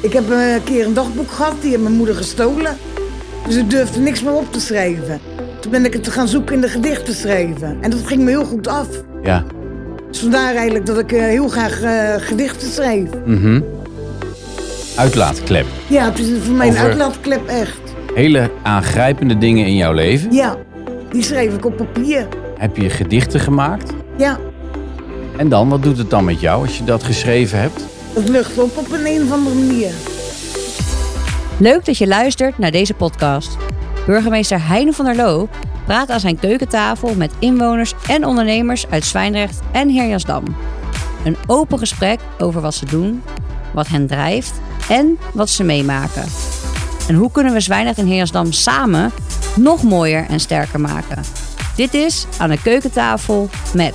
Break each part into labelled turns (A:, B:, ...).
A: Ik heb eh, een keer een dagboek gehad, die heeft mijn moeder gestolen. Dus ik durfde niks meer op te schrijven. Toen ben ik het gaan zoeken in de gedichten schrijven. En dat ging me heel goed af.
B: Ja.
A: Dus vandaar eigenlijk dat ik eh, heel graag eh, gedichten schrijf.
B: Mhm. Uitlaatklep.
A: Ja, het is voor mij een
B: Over-
A: uitlaatklep echt.
B: Hele aangrijpende dingen in jouw leven.
A: Ja, die schreef ik op papier.
B: Heb je gedichten gemaakt?
A: Ja,
B: En dan, wat doet het dan met jou als je dat geschreven hebt?
A: dat lucht op op een, een of andere manier.
C: Leuk dat je luistert naar deze podcast. Burgemeester Heine van der Loo praat aan zijn keukentafel met inwoners en ondernemers uit Zwijndrecht en Heerjasdam. Een open gesprek over wat ze doen, wat hen drijft en wat ze meemaken. En hoe kunnen we Zwijndrecht en Heerjasdam samen nog mooier en sterker maken? Dit is aan de keukentafel met.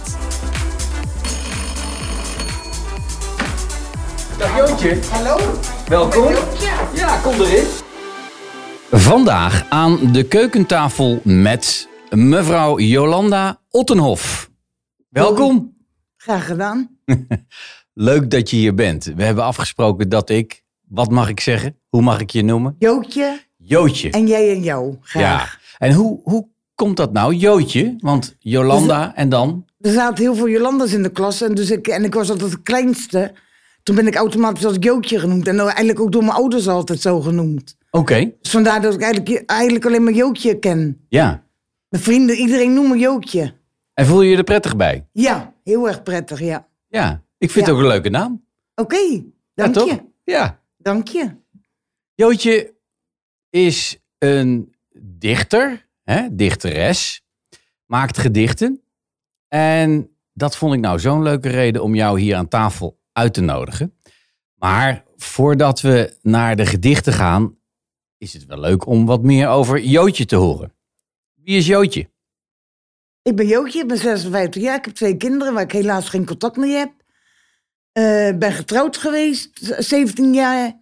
D: Dag Jootje.
A: Hallo?
D: Welkom. Ja, kom erin.
B: Vandaag aan de keukentafel met mevrouw Jolanda Ottenhof. Welkom.
A: Graag gedaan.
B: Leuk dat je hier bent. We hebben afgesproken dat ik, wat mag ik zeggen? Hoe mag ik je noemen?
A: Jootje
B: Jootje.
A: en jij en jou. Graag.
B: En hoe, hoe komt dat nou? Jootje? Want Jolanda en dan?
A: Er zaten heel veel Jolanders in de klas en, dus ik, en ik was altijd de kleinste. Toen ben ik automatisch als Jootje genoemd. En eigenlijk ook door mijn ouders altijd zo genoemd.
B: Oké,
A: Dus vandaar dat ik eigenlijk, eigenlijk alleen maar Jootje ken.
B: ja.
A: Mijn vrienden, iedereen noemt me Jootje.
B: En voel je je er prettig bij?
A: Ja, heel erg prettig, ja.
B: Ja. Ik vind
A: Ja.
B: het ook een leuke naam.
A: Oké, dank
B: ja, toch?
A: je.
B: Ja.
A: Dank je.
B: Jootje is een dichter, hè, dichteres, maakt gedichten. En dat vond ik nou zo'n leuke reden om jou hier aan tafel uit te nodigen. Maar voordat we naar de gedichten gaan, is het wel leuk om wat meer over Jootje te horen. Wie is Jootje?
A: Ik ben Jootje, ik ben 56 jaar. Ik heb twee kinderen waar ik helaas geen contact mee heb. Eh ben getrouwd geweest, z- 17 jaar.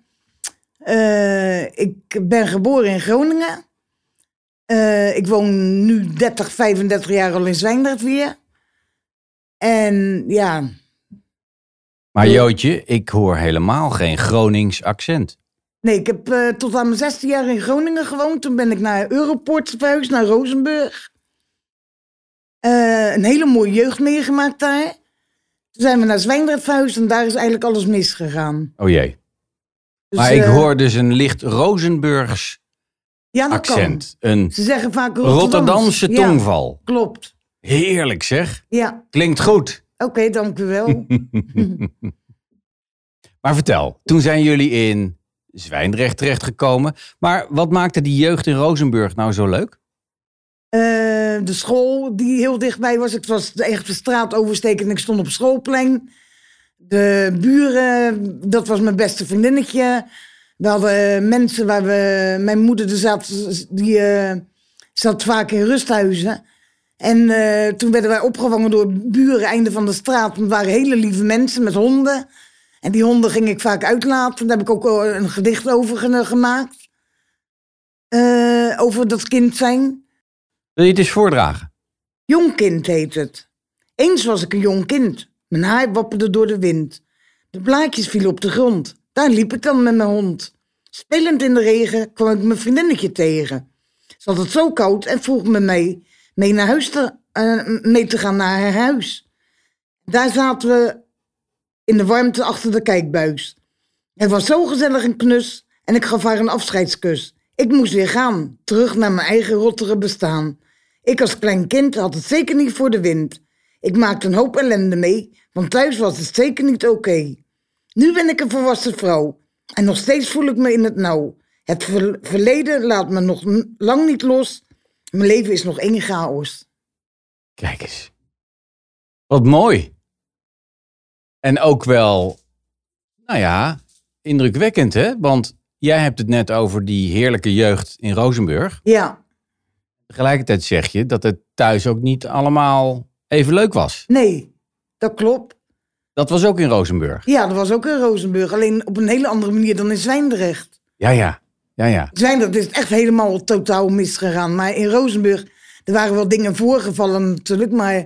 A: Eh, ik ben geboren in Groningen. Eh, ik woon nu 30, 35 jaar al in Zwijndrecht weer. En ja,
B: Maar
A: Eh.
B: Jootje, ik hoor helemaal geen Gronings accent.
A: nee, ik heb eh, tot aan mijn 16 jaar in Groningen gewoond. Toen ben ik naar Europoort verhuisd, naar Rozenburg. Eh, een hele mooie jeugd meegemaakt daar. Toen zijn we naar Zwijndrecht verhuisd en daar is eigenlijk alles misgegaan.
B: Oh jee.
A: Dus,
B: Maar ik
A: eh,
B: hoor dus een licht Rozenburgs
A: ja, dat Oh, kan.
B: accent. Een
A: Ze zeggen vaak Rotterdams.
B: Rotterdamse
A: Ja,
B: tongval.
A: klopt.
B: Heerlijk zeg.
A: Ja,
B: Klinkt goed.
A: oké, dank u wel.
B: Maar vertel, toen zijn jullie in Zwijndrecht terechtgekomen. Maar wat maakte die jeugd in Rozenburg nou zo leuk?
A: Eh, de school die heel dichtbij was. Ik was echt de straat oversteken en ik stond op het schoolplein. De buren, dat was mijn beste vriendinnetje. We hadden eh, mensen waar we... Mijn moeder die zat, die, eh, zat vaak in rusthuizen. En eh, toen werden wij opgevangen door buren einde van de straat. Het waren hele lieve mensen met honden. En die honden ging ik vaak uitlaten. Daar heb ik ook eh, een gedicht over ge- gemaakt. Eh, over dat kind zijn.
B: Wil je het eens voordragen?
A: Jong kind heet het. Eens was ik een jong kind. Mijn haar wapperde door de wind. De blaadjes vielen op de grond. Daar liep ik dan met mijn hond. Spelend in de regen kwam ik mijn vriendinnetje tegen. Ze had het zo koud en vroeg me mee, mee, naar huis te, eh, mee te gaan naar haar huis. Daar zaten we in de warmte achter de kijkbuis. Het was zo gezellig en knus en ik gaf haar een afscheidskus. Ik moest weer gaan, terug naar mijn eigen rottere bestaan. Ik als klein kind had het zeker niet voor de wind. Ik maakte een hoop ellende mee, want thuis was het zeker niet oké. Nu ben ik een volwassen vrouw en nog steeds voel ik me in het nauw. Het ver- verleden laat me nog n- lang niet los. Mijn leven is nog één chaos.
B: Kijk eens. Wat mooi. En ook wel, nou ja, indrukwekkend hè? Want jij hebt het net over die heerlijke jeugd in Rozenburg.
A: Ja,
B: Tegelijkertijd zeg je dat het thuis ook niet allemaal even leuk was.
A: nee, dat klopt.
B: Dat was ook in Rozenburg.
A: Ja, dat was ook in Rozenburg, alleen op een hele andere manier dan in Zwijndrecht.
B: Ja, ja. Ja, ja.
A: Zwijndrecht is dus echt helemaal totaal misgegaan. Maar in Rozenburg, er waren wel dingen voorgevallen natuurlijk. Maar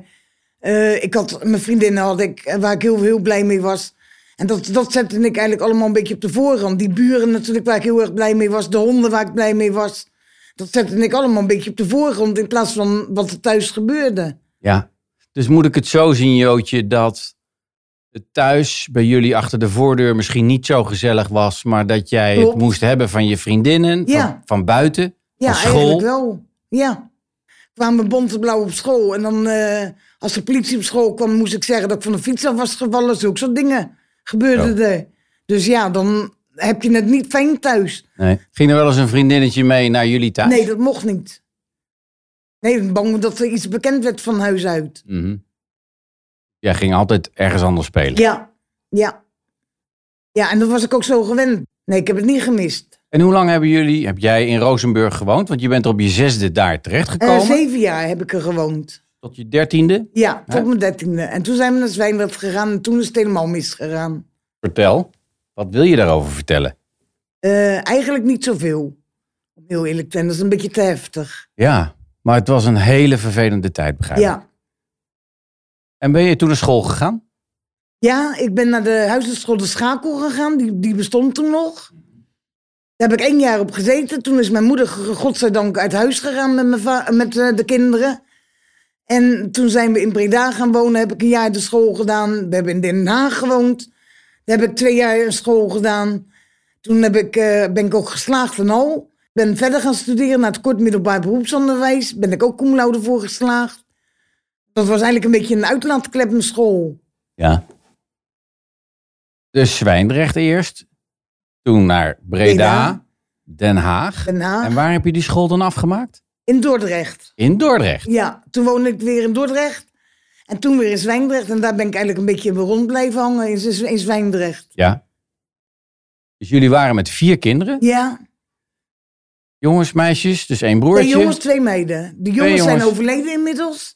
A: eh, ik had, mijn vriendinnen had ik, eh, waar ik heel, heel blij mee was. En dat, dat zette ik eigenlijk allemaal een beetje op de voorgrond. Die buren natuurlijk, waar ik heel erg blij mee was. De honden waar ik blij mee was. Dat zette ik allemaal een beetje op de voorgrond in plaats van wat er thuis gebeurde.
B: Ja. Dus moet ik het zo zien, Jootje, dat het thuis bij jullie achter de voordeur misschien niet zo gezellig was, maar dat jij het
A: Klopt.
B: moest hebben van je vriendinnen,
A: Ja.
B: van, van buiten,
A: Ja,
B: van school.
A: eigenlijk wel. Ja. Kwamen bonte blauw op school. En dan, eh, als de politie op school kwam, moest ik zeggen dat ik van de fiets af was gevallen. Zulke soort dingen gebeurden er. Dus ja, dan heb je het niet fijn thuis.
B: Nee. Ging er wel eens een vriendinnetje mee naar jullie thuis?
A: Nee, dat mocht niet. Nee, ik ben bang dat er iets bekend werd van huis uit.
B: Mhm. Jij ging altijd ergens anders spelen.
A: Ja, ja. Ja, en dat was ik ook zo gewend. Nee, ik heb het niet gemist.
B: En hoe lang hebben jullie, heb jij in Rozenburg gewoond? Want je bent er op je zesde daar
A: Eh,
B: terechtgekomen.
A: zeven jaar heb ik er gewoond.
B: Tot je dertiende?
A: Ja, tot
B: Hè?
A: mijn dertiende. En toen zijn we naar Zwijndrecht gegaan en toen is het helemaal misgegaan.
B: Vertel. Wat wil je daarover vertellen?
A: Eh, eigenlijk niet zoveel. Om heel eerlijk te zijn, dat is een beetje te heftig.
B: Ja, maar het was een hele vervelende tijd, begrijp ik.
A: Ja.
B: En ben je toen naar school gegaan?
A: ja, ik ben naar de huisartschool De Schakel gegaan. Die, die bestond toen nog. Daar heb ik één jaar op gezeten. Toen is mijn moeder, godzijdank, uit huis gegaan met, mijn va- met eh, de kinderen. En toen zijn we in Breda gaan wonen. Heb ik een jaar de school gedaan. We hebben in Den Haag gewoond. Daar heb ik twee jaar een school gedaan. Toen heb ik, eh, ben ik ook geslaagd van al. Ben verder gaan studeren naar het kort middelbaar beroepsonderwijs. Ben ik ook cum laude voor geslaagd. Dat was eigenlijk een beetje een uitlaatklep mijn school.
B: Ja. Dus Zwijndrecht eerst. Toen naar Breda,
A: Breda.
B: Den Haag.
A: Den Haag.
B: En waar heb je die school dan afgemaakt?
A: In Dordrecht.
B: In Dordrecht.
A: Ja, toen woonde ik weer in Dordrecht. En toen weer in Zwijndrecht. En daar ben ik eigenlijk een beetje rond blijven hangen in, Z- in Zwijndrecht.
B: Ja. Dus jullie waren met vier kinderen.
A: Ja,
B: Jongens, meisjes, dus één broertje.
A: twee jongens, twee meiden. De jongens, zijn
B: jongens.
A: overleden inmiddels.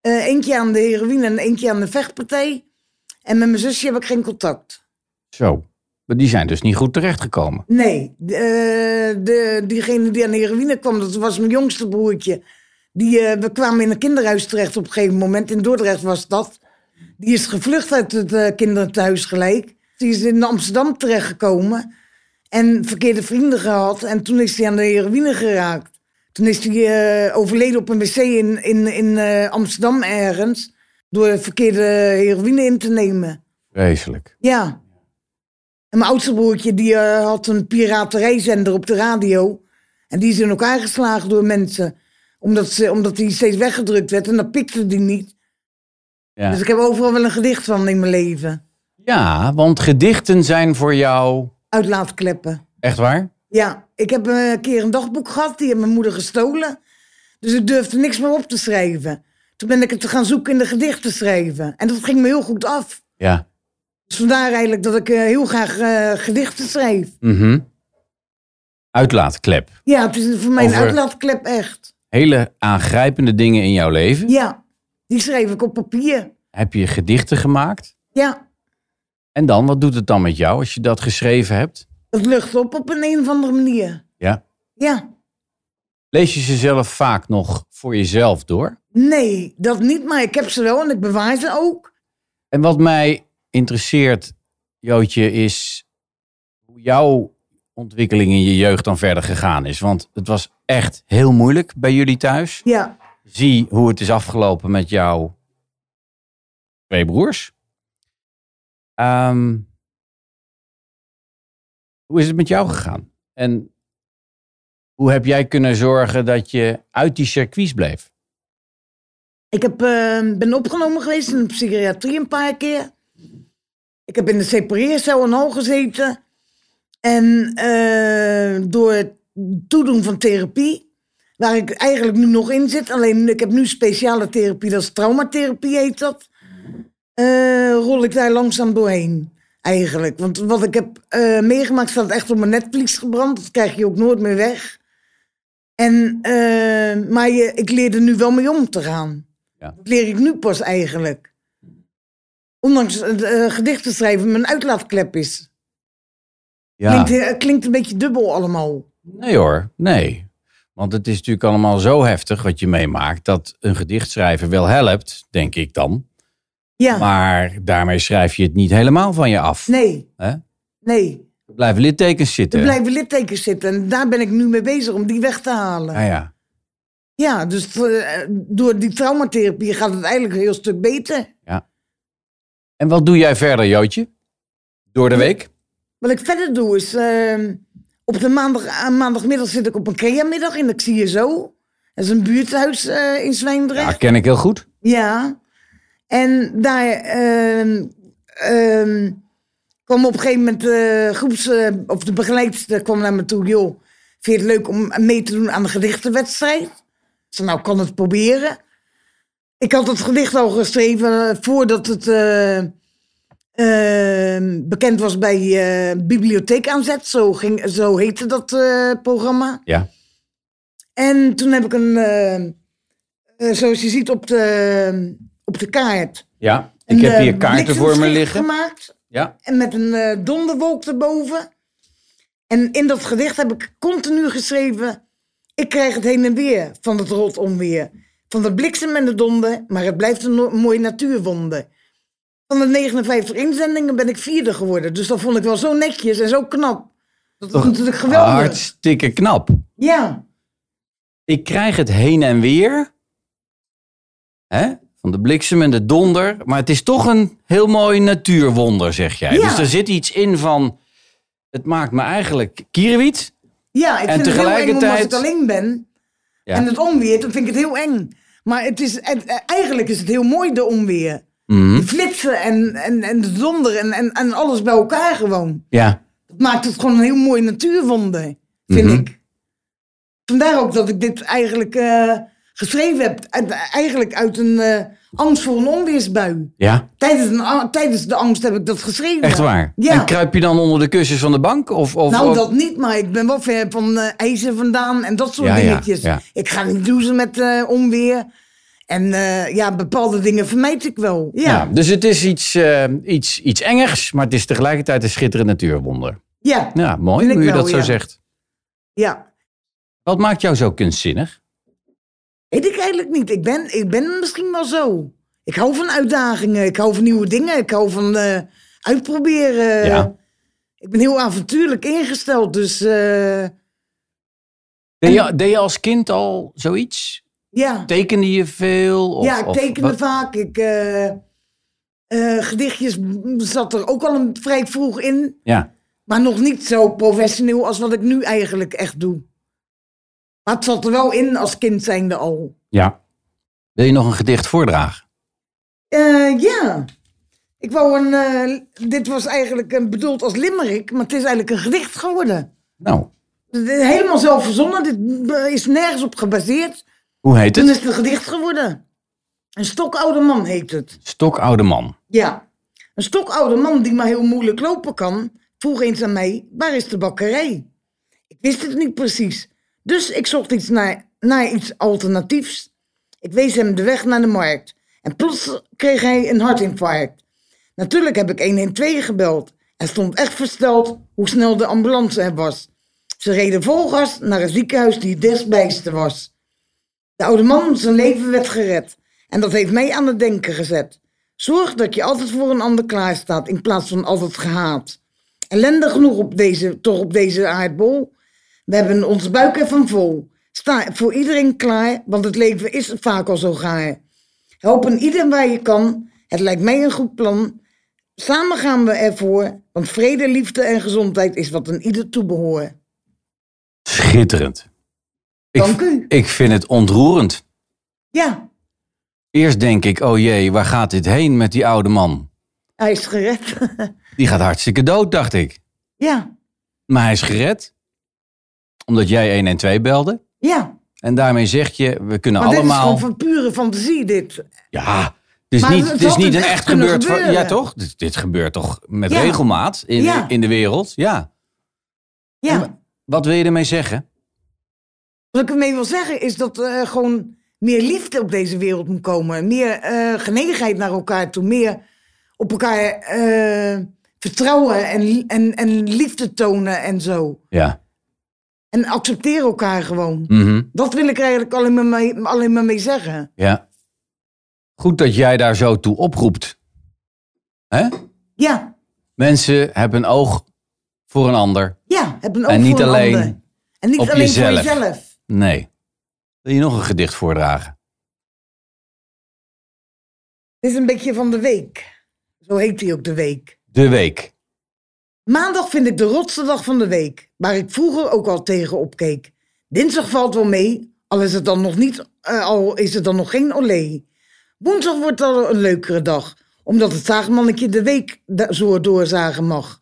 A: Eh eentje aan de heroïne en eentje aan de vechtpartij. En met mijn zusje heb ik geen contact.
B: Zo. Maar die zijn dus niet goed terechtgekomen.
A: Nee, de, eh, de, diegene die aan de heroïne kwam, dat was mijn jongste broertje. Die, eh, we kwamen in een kinderhuis terecht op een gegeven moment. In Dordrecht was dat. Die is gevlucht uit het eh, kinderthuis gelijk. Die is in Amsterdam terechtgekomen. En verkeerde vrienden gehad. En toen is hij aan de heroïne geraakt. Toen is hij eh, overleden op een wc in, in, in eh, Amsterdam ergens. Door verkeerde heroïne in te nemen.
B: Vreselijk.
A: Ja. En mijn oudste broertje die eh, had een piraterijzender op de radio. En die is in elkaar geslagen door mensen. Omdat, ze, omdat die steeds weggedrukt werd en dat pikte die niet.
B: Ja.
A: Dus ik heb overal wel een gedicht van in mijn leven.
B: ja, want gedichten zijn voor jou...
A: Uitlaatkleppen.
B: Echt waar?
A: Ja, ik heb eh, een keer een dagboek gehad, die heeft mijn moeder gestolen. Dus ik durfde niks meer op te schrijven. Toen ben ik het gaan zoeken in de gedichten schrijven. En dat ging me heel goed af.
B: Ja.
A: Dus vandaar eigenlijk dat ik eh, heel graag eh, gedichten schrijf.
B: Mhm. Uitlaatklep.
A: Ja, het is voor mij
B: Over-
A: een uitlaatklep echt.
B: Hele aangrijpende dingen in jouw leven.
A: Ja, die schreef ik op papier.
B: Heb je gedichten gemaakt.
A: Ja,
B: En dan, wat doet het dan met jou als je dat geschreven hebt?
A: dat lucht op op een, een of andere manier.
B: Ja.
A: Ja,
B: Lees je ze zelf vaak nog voor jezelf door?
A: nee, dat niet, maar ik heb ze wel en ik bewaar ze ook.
B: En wat mij interesseert, Jootje, is hoe jouw ontwikkeling in je jeugd dan verder gegaan is. Want het was echt heel moeilijk bij jullie thuis.
A: Ja,
B: Zie hoe het is afgelopen met jouw twee broers. Ehm, hoe is het met jou gegaan? En hoe heb jij kunnen zorgen dat je uit die circuits bleef?
A: ik heb, eh, ben opgenomen geweest in de psychiatrie een paar keer. Ik heb in de separeercel en al gezeten. En eh, door het toedoen van therapie, waar ik eigenlijk nu nog in zit, alleen ik heb nu speciale therapie, dat is traumatherapie heet dat, eh, rol ik daar langzaam doorheen. Eigenlijk. Want wat ik heb eh, meegemaakt staat echt op mijn netvlies gebrand. Dat krijg je ook nooit meer weg. En, eh, maar je, ik leer er nu wel mee om te gaan.
B: Ja.
A: Dat leer ik nu pas eigenlijk. Ondanks het eh, gedichten schrijven mijn uitlaatklep is. Klinkt, eh, klinkt een beetje dubbel allemaal.
B: Nee hoor, nee. Want het is natuurlijk allemaal zo heftig wat je meemaakt dat een gedicht schrijven wel helpt, denk ik dan.
A: Ja,
B: Maar daarmee schrijf je het niet helemaal van je af.
A: nee,
B: Hè?
A: nee.
B: Er blijven littekens zitten.
A: Er blijven littekens zitten en daar ben ik nu mee bezig om die weg te halen.
B: Ah, ja.
A: Ja, dus eh, door die traumatherapie gaat het eigenlijk een heel stuk beter.
B: En wat doe jij verder, Jootje? Door de week?
A: Wat ik verder doe is, eh, op de maandag, aan maandagmiddag zit ik op een CREA-middag in de CSO. Dat is een buurthuis eh, in
B: Ja,
A: Zwijndrecht.
B: ken ik heel goed.
A: Ja. En daar ehm, ehm, kwam op een gegeven moment de groeps, eh, of de begeleidster kwam naar me toe. Joh, vind je het leuk om mee te doen aan de gedichtenwedstrijd? Ik zei, nou, kan het proberen. Ik had het gedicht al geschreven eh, voordat het eh, ehm, bekend was bij eh, Bibliotheek Aanzet. Zo, ging, zo heette dat eh, programma.
B: Ja.
A: En toen heb ik een, eh, eh, zoals je ziet op de, op de kaart.
B: Ja. Ik
A: een,
B: heb
A: eh,
B: hier kaarten voor me
A: bliksemschicht
B: liggen.
A: gemaakt.
B: Ja.
A: En met een eh, donderwolk erboven. En in dat gedicht heb ik continu geschreven. Ik krijg het heen en weer van het rot onweer. Van de bliksem en de donder, maar het blijft een no- mooie natuurwonder. Van de 59 inzendingen ben ik vierde geworden. Dus dat vond ik wel zo netjes en zo knap. Dat is
B: Toch
A: natuurlijk geweldig.
B: Hartstikke knap.
A: Ja,
B: Ik krijg het heen en weer. Hè? Van de bliksem en de donder. Maar het is toch een heel mooi natuurwonder, zeg jij.
A: Ja.
B: Dus er zit iets in van... Het maakt me eigenlijk kierewiet.
A: ja ik
B: En
A: vind het heel eng om als
B: tegelijkertijd-
A: ik alleen ben.
B: Ja.
A: En het onweer, dan vind ik het heel eng. Maar het is, het- eh, eigenlijk is het heel mooi, de onweer.
B: Mhm.
A: De flitsen en, en, en de donder en, en, en alles bij elkaar gewoon.
B: ja.
A: Dat maakt het gewoon een heel mooi natuurwonder, vind
B: Mhm.
A: ik. Vandaar ook dat ik dit eigenlijk eh, geschreven heb. Uit- eigenlijk uit een eh, angst voor een onweersbui.
B: Ja,
A: Tijdens, een, a- tijdens de angst heb ik dat geschreven.
B: echt waar.
A: Ja.
B: En kruip je dan onder de kussens van de bank? Of, of,
A: Nou,
B: of-
A: dat niet, maar ik ben wel ver van eh, ijzer vandaan en dat soort
B: Ja, ja,
A: dingetjes.
B: ja.
A: Ik ga niet douchen met eh, onweer. En eh, ja, bepaalde dingen vermijd ik wel. Ja,
B: Ja,
A: ja.
B: dus het is iets, eh, iets, iets engers, maar het is tegelijkertijd een schitterend natuurwonder.
A: ja.
B: Ja, mooi
A: Vind ik
B: hoe je
A: wel,
B: dat zo
A: ja.
B: zegt. Wat maakt jou zo kunstzinnig?
A: Weet ik eigenlijk niet. Ik ben, ik ben misschien wel zo. Ik hou van uitdagingen, ik hou van nieuwe dingen, ik hou van eh, uitproberen.
B: Ja.
A: Ik ben heel avontuurlijk ingesteld, dus eh,
B: Deed je, deed je als kind al zoiets?
A: ja.
B: Tekende je veel? Of,
A: ja, ik
B: of
A: tekende
B: wat-
A: vaak. Ik, eh, eh, gedichtjes zat er ook al een, vrij vroeg in.
B: Ja,
A: Maar nog niet zo professioneel als wat ik nu eigenlijk echt doe. Maar het zat er wel in als kind zijnde al.
B: ja. Wil je nog een gedicht voordragen?
A: Eh, ja. Ik wou een... eh, dit was eigenlijk een, bedoeld als limerick, maar het is eigenlijk een gedicht geworden.
B: Nou,
A: Het is Helemaal zelf verzonnen. Dit eh, is nergens op gebaseerd.
B: hoe heet
A: Toen
B: het?
A: is het een gedicht geworden. Een stokoude man heet het.
B: Stokoude man.
A: Ja. Een stokoude man die maar heel moeilijk lopen kan, vroeg eens aan mij: waar is de bakkerij? Ik wist het niet precies, dus ik zocht iets naar, naar iets alternatiefs. Ik wees hem de weg naar de markt en plots kreeg hij een hartinfarct. Natuurlijk heb ik 112 gebeld en stond echt versteld hoe snel de ambulance er was. Ze reden vol gas naar een ziekenhuis die het dichtstbijste was. De oude man, zijn leven werd gered. En dat heeft mij aan het denken gezet. Zorg dat je altijd voor een ander klaarstaat in plaats van altijd gehaat. Ellende genoeg op deze, toch op deze aardbol. We hebben ons buik ervan vol. Sta voor iedereen klaar, want het leven is vaak al zo gaar. Help een ieder waar je kan. Het lijkt mij een goed plan. Samen gaan we ervoor, want vrede, liefde en gezondheid is wat een ieder toebehoort.
B: Schitterend. Ik,
A: Dank u.
B: ik vind het ontroerend.
A: Ja,
B: Eerst denk ik, oh jee, waar gaat dit heen met die oude man?
A: hij is gered.
B: Die gaat hartstikke dood, dacht ik.
A: ja,
B: Maar hij is gered. Omdat jij 112 belde.
A: ja.
B: En daarmee zeg je, we kunnen
A: Maar dit is
B: Nou, allemaal...
A: gewoon van pure fantasie, dit.
B: Ja, het is
A: Maar
B: niet,
A: het
B: het is
A: had
B: niet
A: het
B: een
A: echt
B: echt
A: kunnen
B: gebeurd... van-
A: gebeuren.
B: ja, toch? Dit, dit gebeurt toch met
A: Ja.
B: regelmaat in,
A: Ja.
B: in de wereld? Ja.
A: Ja.
B: Maar Wat wil je ermee zeggen?
A: Wat ik ermee wil zeggen is dat er gewoon meer liefde op deze wereld moet komen. Meer eh, genegenheid naar elkaar toe. Meer op elkaar eh, vertrouwen en, en, en liefde tonen en zo.
B: Ja.
A: En accepteer elkaar gewoon.
B: Mhm.
A: Dat wil ik er eigenlijk alleen maar mee, alleen maar mee zeggen.
B: ja. Goed dat jij daar zo toe oproept. Hè?
A: Ja,
B: Mensen hebben een oog voor een ander.
A: ja. Heb een oog
B: En niet
A: voor een
B: alleen
A: ander. En niet
B: op
A: alleen
B: jezelf.
A: voor jezelf.
B: Nee. Wil je nog een gedicht voordragen?
A: Dit is een beetje van de week. Zo heet hij ook de week.
B: De week.
A: Maandag vind ik de rotste dag van de week, waar ik vroeger ook al tegen opkeek. Dinsdag valt wel mee, al is het dan nog, niet, eh, al is het dan nog geen olé. Woensdag wordt al een leukere dag, omdat het zaagmannetje de week da- zo doorzagen mag.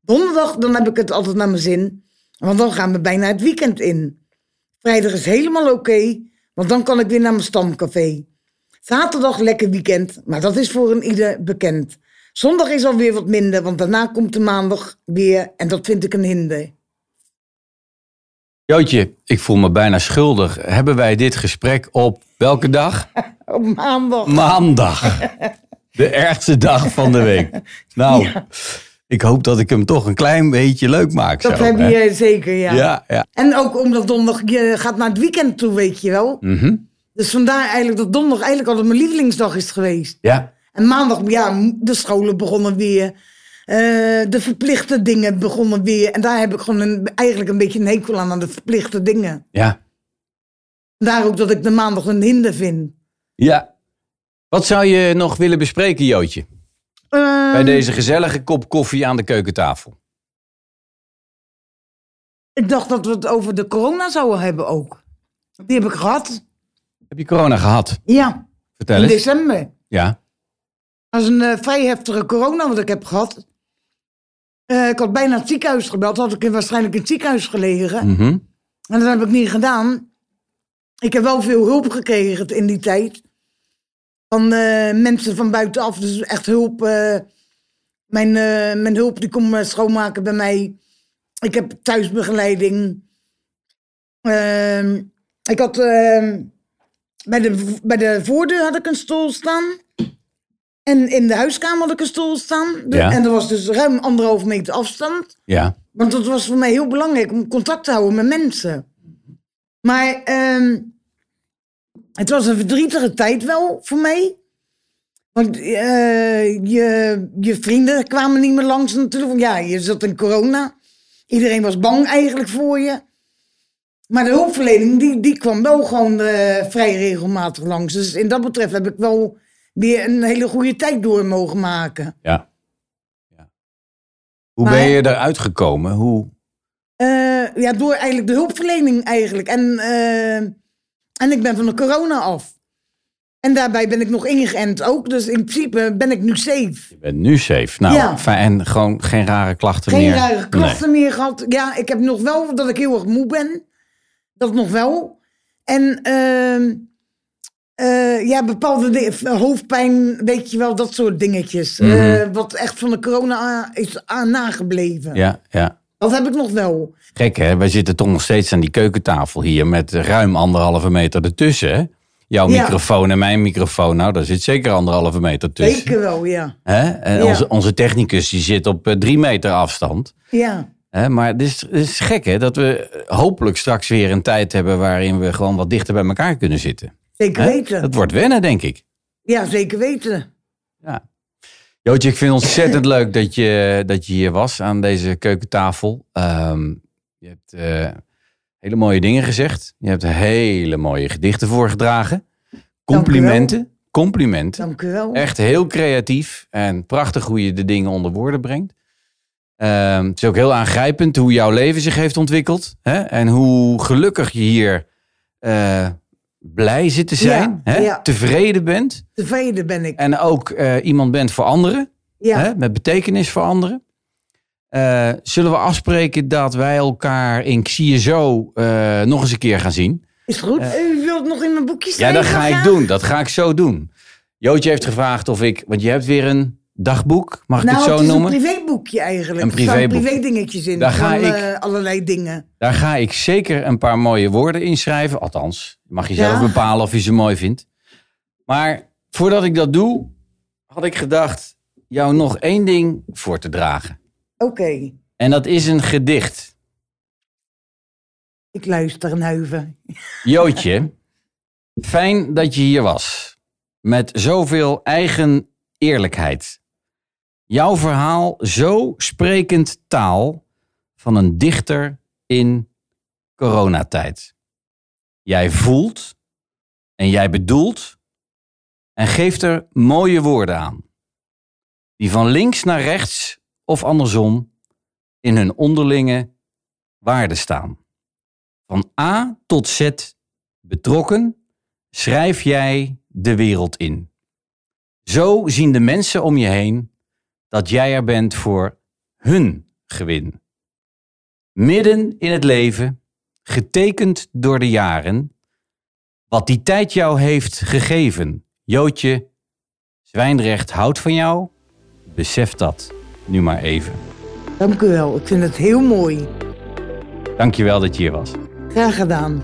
A: Donderdag, dan heb ik het altijd naar mijn zin, want dan gaan we bijna het weekend in. Vrijdag is helemaal oké, want dan kan ik weer naar mijn stamcafé. Zaterdag lekker weekend, maar dat is voor een ieder bekend. Zondag is alweer wat minder, want daarna komt de maandag weer en dat vind ik een hinder.
B: Jootje, ik voel me bijna schuldig. Hebben wij dit gesprek op welke dag?
A: Op maandag.
B: Mm, Maandag. De ergste dag van de week. Nou, ik hoop dat ik hem toch een klein beetje leuk maak.
A: dat
B: zo,
A: heb
B: hè?
A: je eh, zeker, ja.
B: Ja, ja.
A: En ook omdat donderdag, je gaat naar het weekend toe, weet je wel.
B: Mhm.
A: Dus vandaar eigenlijk dat donderdag eigenlijk altijd mijn lievelingsdag is geweest.
B: ja.
A: En maandag, ja, de scholen begonnen weer. Eh, de verplichte dingen begonnen weer. En daar heb ik gewoon een, eigenlijk een beetje een hekel aan, aan de verplichte dingen.
B: Ja.
A: Vandaar ook dat ik de maandag een hinder vind.
B: Ja. Wat zou je nog willen bespreken, Jootje?
A: Eh,
B: Bij deze gezellige kop koffie aan de keukentafel.
A: Ik dacht dat we het over de corona zouden hebben ook. Die heb ik gehad.
B: Heb je corona gehad?
A: Ja,
B: Vertel
A: in
B: eens.
A: december.
B: Ja.
A: Dat is een eh, vrij heftige corona wat ik heb gehad. Eh, ik had bijna het ziekenhuis gebeld. Had ik waarschijnlijk in het ziekenhuis gelegen.
B: Mhm.
A: En dat heb ik niet gedaan. Ik heb wel veel hulp gekregen in die tijd. Van eh, mensen van buitenaf. Dus echt hulp. eh, mijn, eh, mijn hulp die komt eh, schoonmaken bij mij. Ik heb thuisbegeleiding. Ehm, ik had... ehm, bij, de, bij de voordeur had ik een stoel staan. En in de huiskamer had ik een stoel staan. De-
B: Ja.
A: En er was dus ruim anderhalve meter afstand.
B: Ja.
A: Want dat was voor mij heel belangrijk om contact te houden met mensen. Maar ehm, het was een verdrietige tijd wel voor mij. Want eh, je, je vrienden kwamen niet meer langs natuurlijk. Want ja, je zat in corona. Iedereen was bang eigenlijk voor je. Maar de hulpverlening die, die kwam wel gewoon eh, vrij regelmatig langs. Dus in dat betreft heb ik wel weer een hele goede tijd door mogen maken.
B: Ja. ja. Hoe
A: Maar-
B: ben je eruit gekomen? Hoe...
A: Eh, ja, door eigenlijk de hulpverlening eigenlijk. En, eh, en ik ben van de corona af. En daarbij ben ik nog ingeënt ook. Dus in principe ben ik nu safe.
B: Je bent nu safe. Nou,
A: Ja.
B: fijn. En gewoon geen rare klachten
A: Geen
B: meer.
A: rare
B: Nee.
A: klachten meer gehad. Ja, ik heb nog wel dat ik heel erg moe ben. Dat nog wel. En ehm, eh, ja, bepaalde dingen, hoofdpijn, weet je wel, dat soort dingetjes.
B: Mhm.
A: Eh, wat echt van de corona eh, is aan nagebleven.
B: Ja, ja.
A: Dat heb ik nog wel.
B: Gek hè, wij zitten toch nog steeds aan die keukentafel hier met ruim anderhalve meter ertussen. hè? Jouw
A: Ja.
B: microfoon en mijn microfoon, nou daar zit zeker anderhalve meter tussen.
A: Zeker wel, ja.
B: Hè? En
A: Ja.
B: onze, onze technicus die zit op eh, drie meter afstand.
A: Ja.
B: Hè? Maar het is, het is gek hè, dat we hopelijk straks weer een tijd hebben waarin we gewoon wat dichter bij elkaar kunnen zitten.
A: Zeker
B: Hè?
A: weten.
B: Dat wordt wennen denk ik.
A: Ja, zeker weten.
B: Ja. Jootje, ik vind het ontzettend leuk dat je, dat je hier was aan deze keukentafel. Ehm, je hebt eh, hele mooie dingen gezegd. Je hebt hele mooie gedichten voorgedragen.
A: Dank u wel.
B: Complimenten. Complimenten.
A: Dank u wel.
B: Echt heel creatief en prachtig hoe je de dingen onder woorden brengt. Ehm, het is ook heel aangrijpend hoe jouw leven zich heeft ontwikkeld. Hè? En hoe gelukkig je hier eh, blij zit te zijn.
A: Ja,
B: hè?
A: ja.
B: Tevreden bent.
A: Tevreden ben ik.
B: En ook eh, iemand bent voor anderen,
A: Ja,
B: hè, met betekenis voor anderen. Eh, zullen we afspreken dat wij elkaar in CSO eh nog eens een keer gaan zien?
A: is goed. u wilt nog in mijn boekje
B: Eh. Ja,
A: schrijven?
B: dat ga ik
A: graag?
B: doen. Dat ga ik zo doen. Jootje heeft gevraagd of ik, want je hebt weer een dagboek, mag ik
A: Nou,
B: het zo
A: is
B: noemen?
A: een privéboekje eigenlijk.
B: Een
A: Er
B: privéboek.
A: staan privé dingetjes in.
B: Daar ga
A: van,
B: ik-
A: eh, allerlei dingen.
B: Daar ga ik zeker een paar mooie woorden inschrijven. Althans, mag je zelf
A: Ja.
B: bepalen of je ze mooi vindt. Maar voordat ik dat doe, had ik gedacht jou nog één ding voor te dragen.
A: Oké,
B: En dat is een gedicht.
A: ik luister een huiven.
B: Jootje, fijn dat je hier was. Met zoveel eigen eerlijkheid. Jouw verhaal zo sprekend taal van een dichter in coronatijd. Jij voelt en jij bedoelt en geeft er mooie woorden aan. Die van links naar rechts of andersom in hun onderlinge waarde staan. Van A tot Z betrokken schrijf jij de wereld in. Zo zien de mensen om je heen dat jij er bent voor hun gewin. Midden in het leven, getekend door de jaren, wat die tijd jou heeft gegeven. Jootje, Zwijndrecht houdt van jou, besef dat nu maar even.
A: Dank u wel. Ik vind het heel mooi.
B: Dankjewel dat je hier was.
A: Graag gedaan.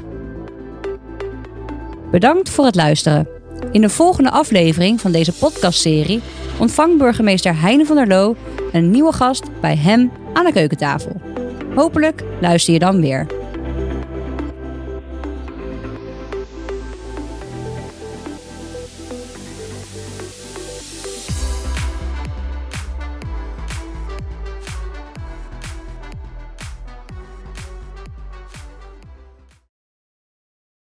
C: Bedankt voor het luisteren. In de volgende aflevering van deze podcastserie ontvangt burgemeester Heine van der Loo een nieuwe gast bij hem aan de keukentafel. Hopelijk luister je dan weer.